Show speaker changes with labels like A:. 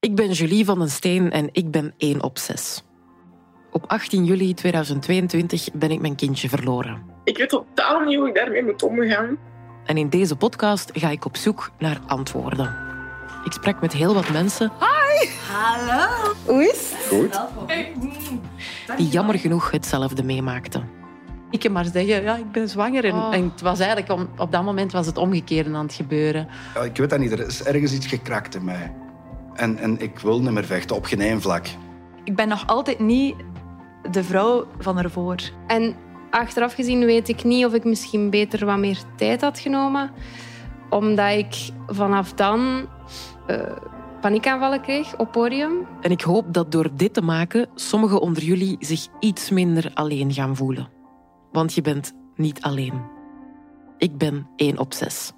A: Ik ben Julie van den Steen en ik ben 1 op 6. Op 18 juli 2022 ben ik mijn kindje verloren.
B: Ik weet totaal niet hoe ik daarmee moet omgaan.
A: En in deze podcast ga ik op zoek naar antwoorden. Ik sprak met heel wat mensen
C: Hallo.
D: Goed.
A: die jammer genoeg hetzelfde meemaakten. Ik kan maar zeggen, ja, ik ben zwanger. En,
E: Oh.
A: en het was eigenlijk om- op dat moment was het omgekeerde aan het gebeuren.
D: Ja, ik weet dat niet, er is ergens iets gekrakt in mij. En, en ik wil niet meer vechten, op geen één vlak.
C: Ik ben nog altijd niet de vrouw van ervoor.
E: En achteraf gezien weet ik niet of ik misschien beter wat meer tijd had genomen. Omdat ik vanaf dan eh, paniekaanvallen kreeg op podium.
A: En ik hoop dat door dit te maken sommigen onder jullie zich iets minder alleen gaan voelen. Want je bent niet alleen. Ik ben 1 op 6.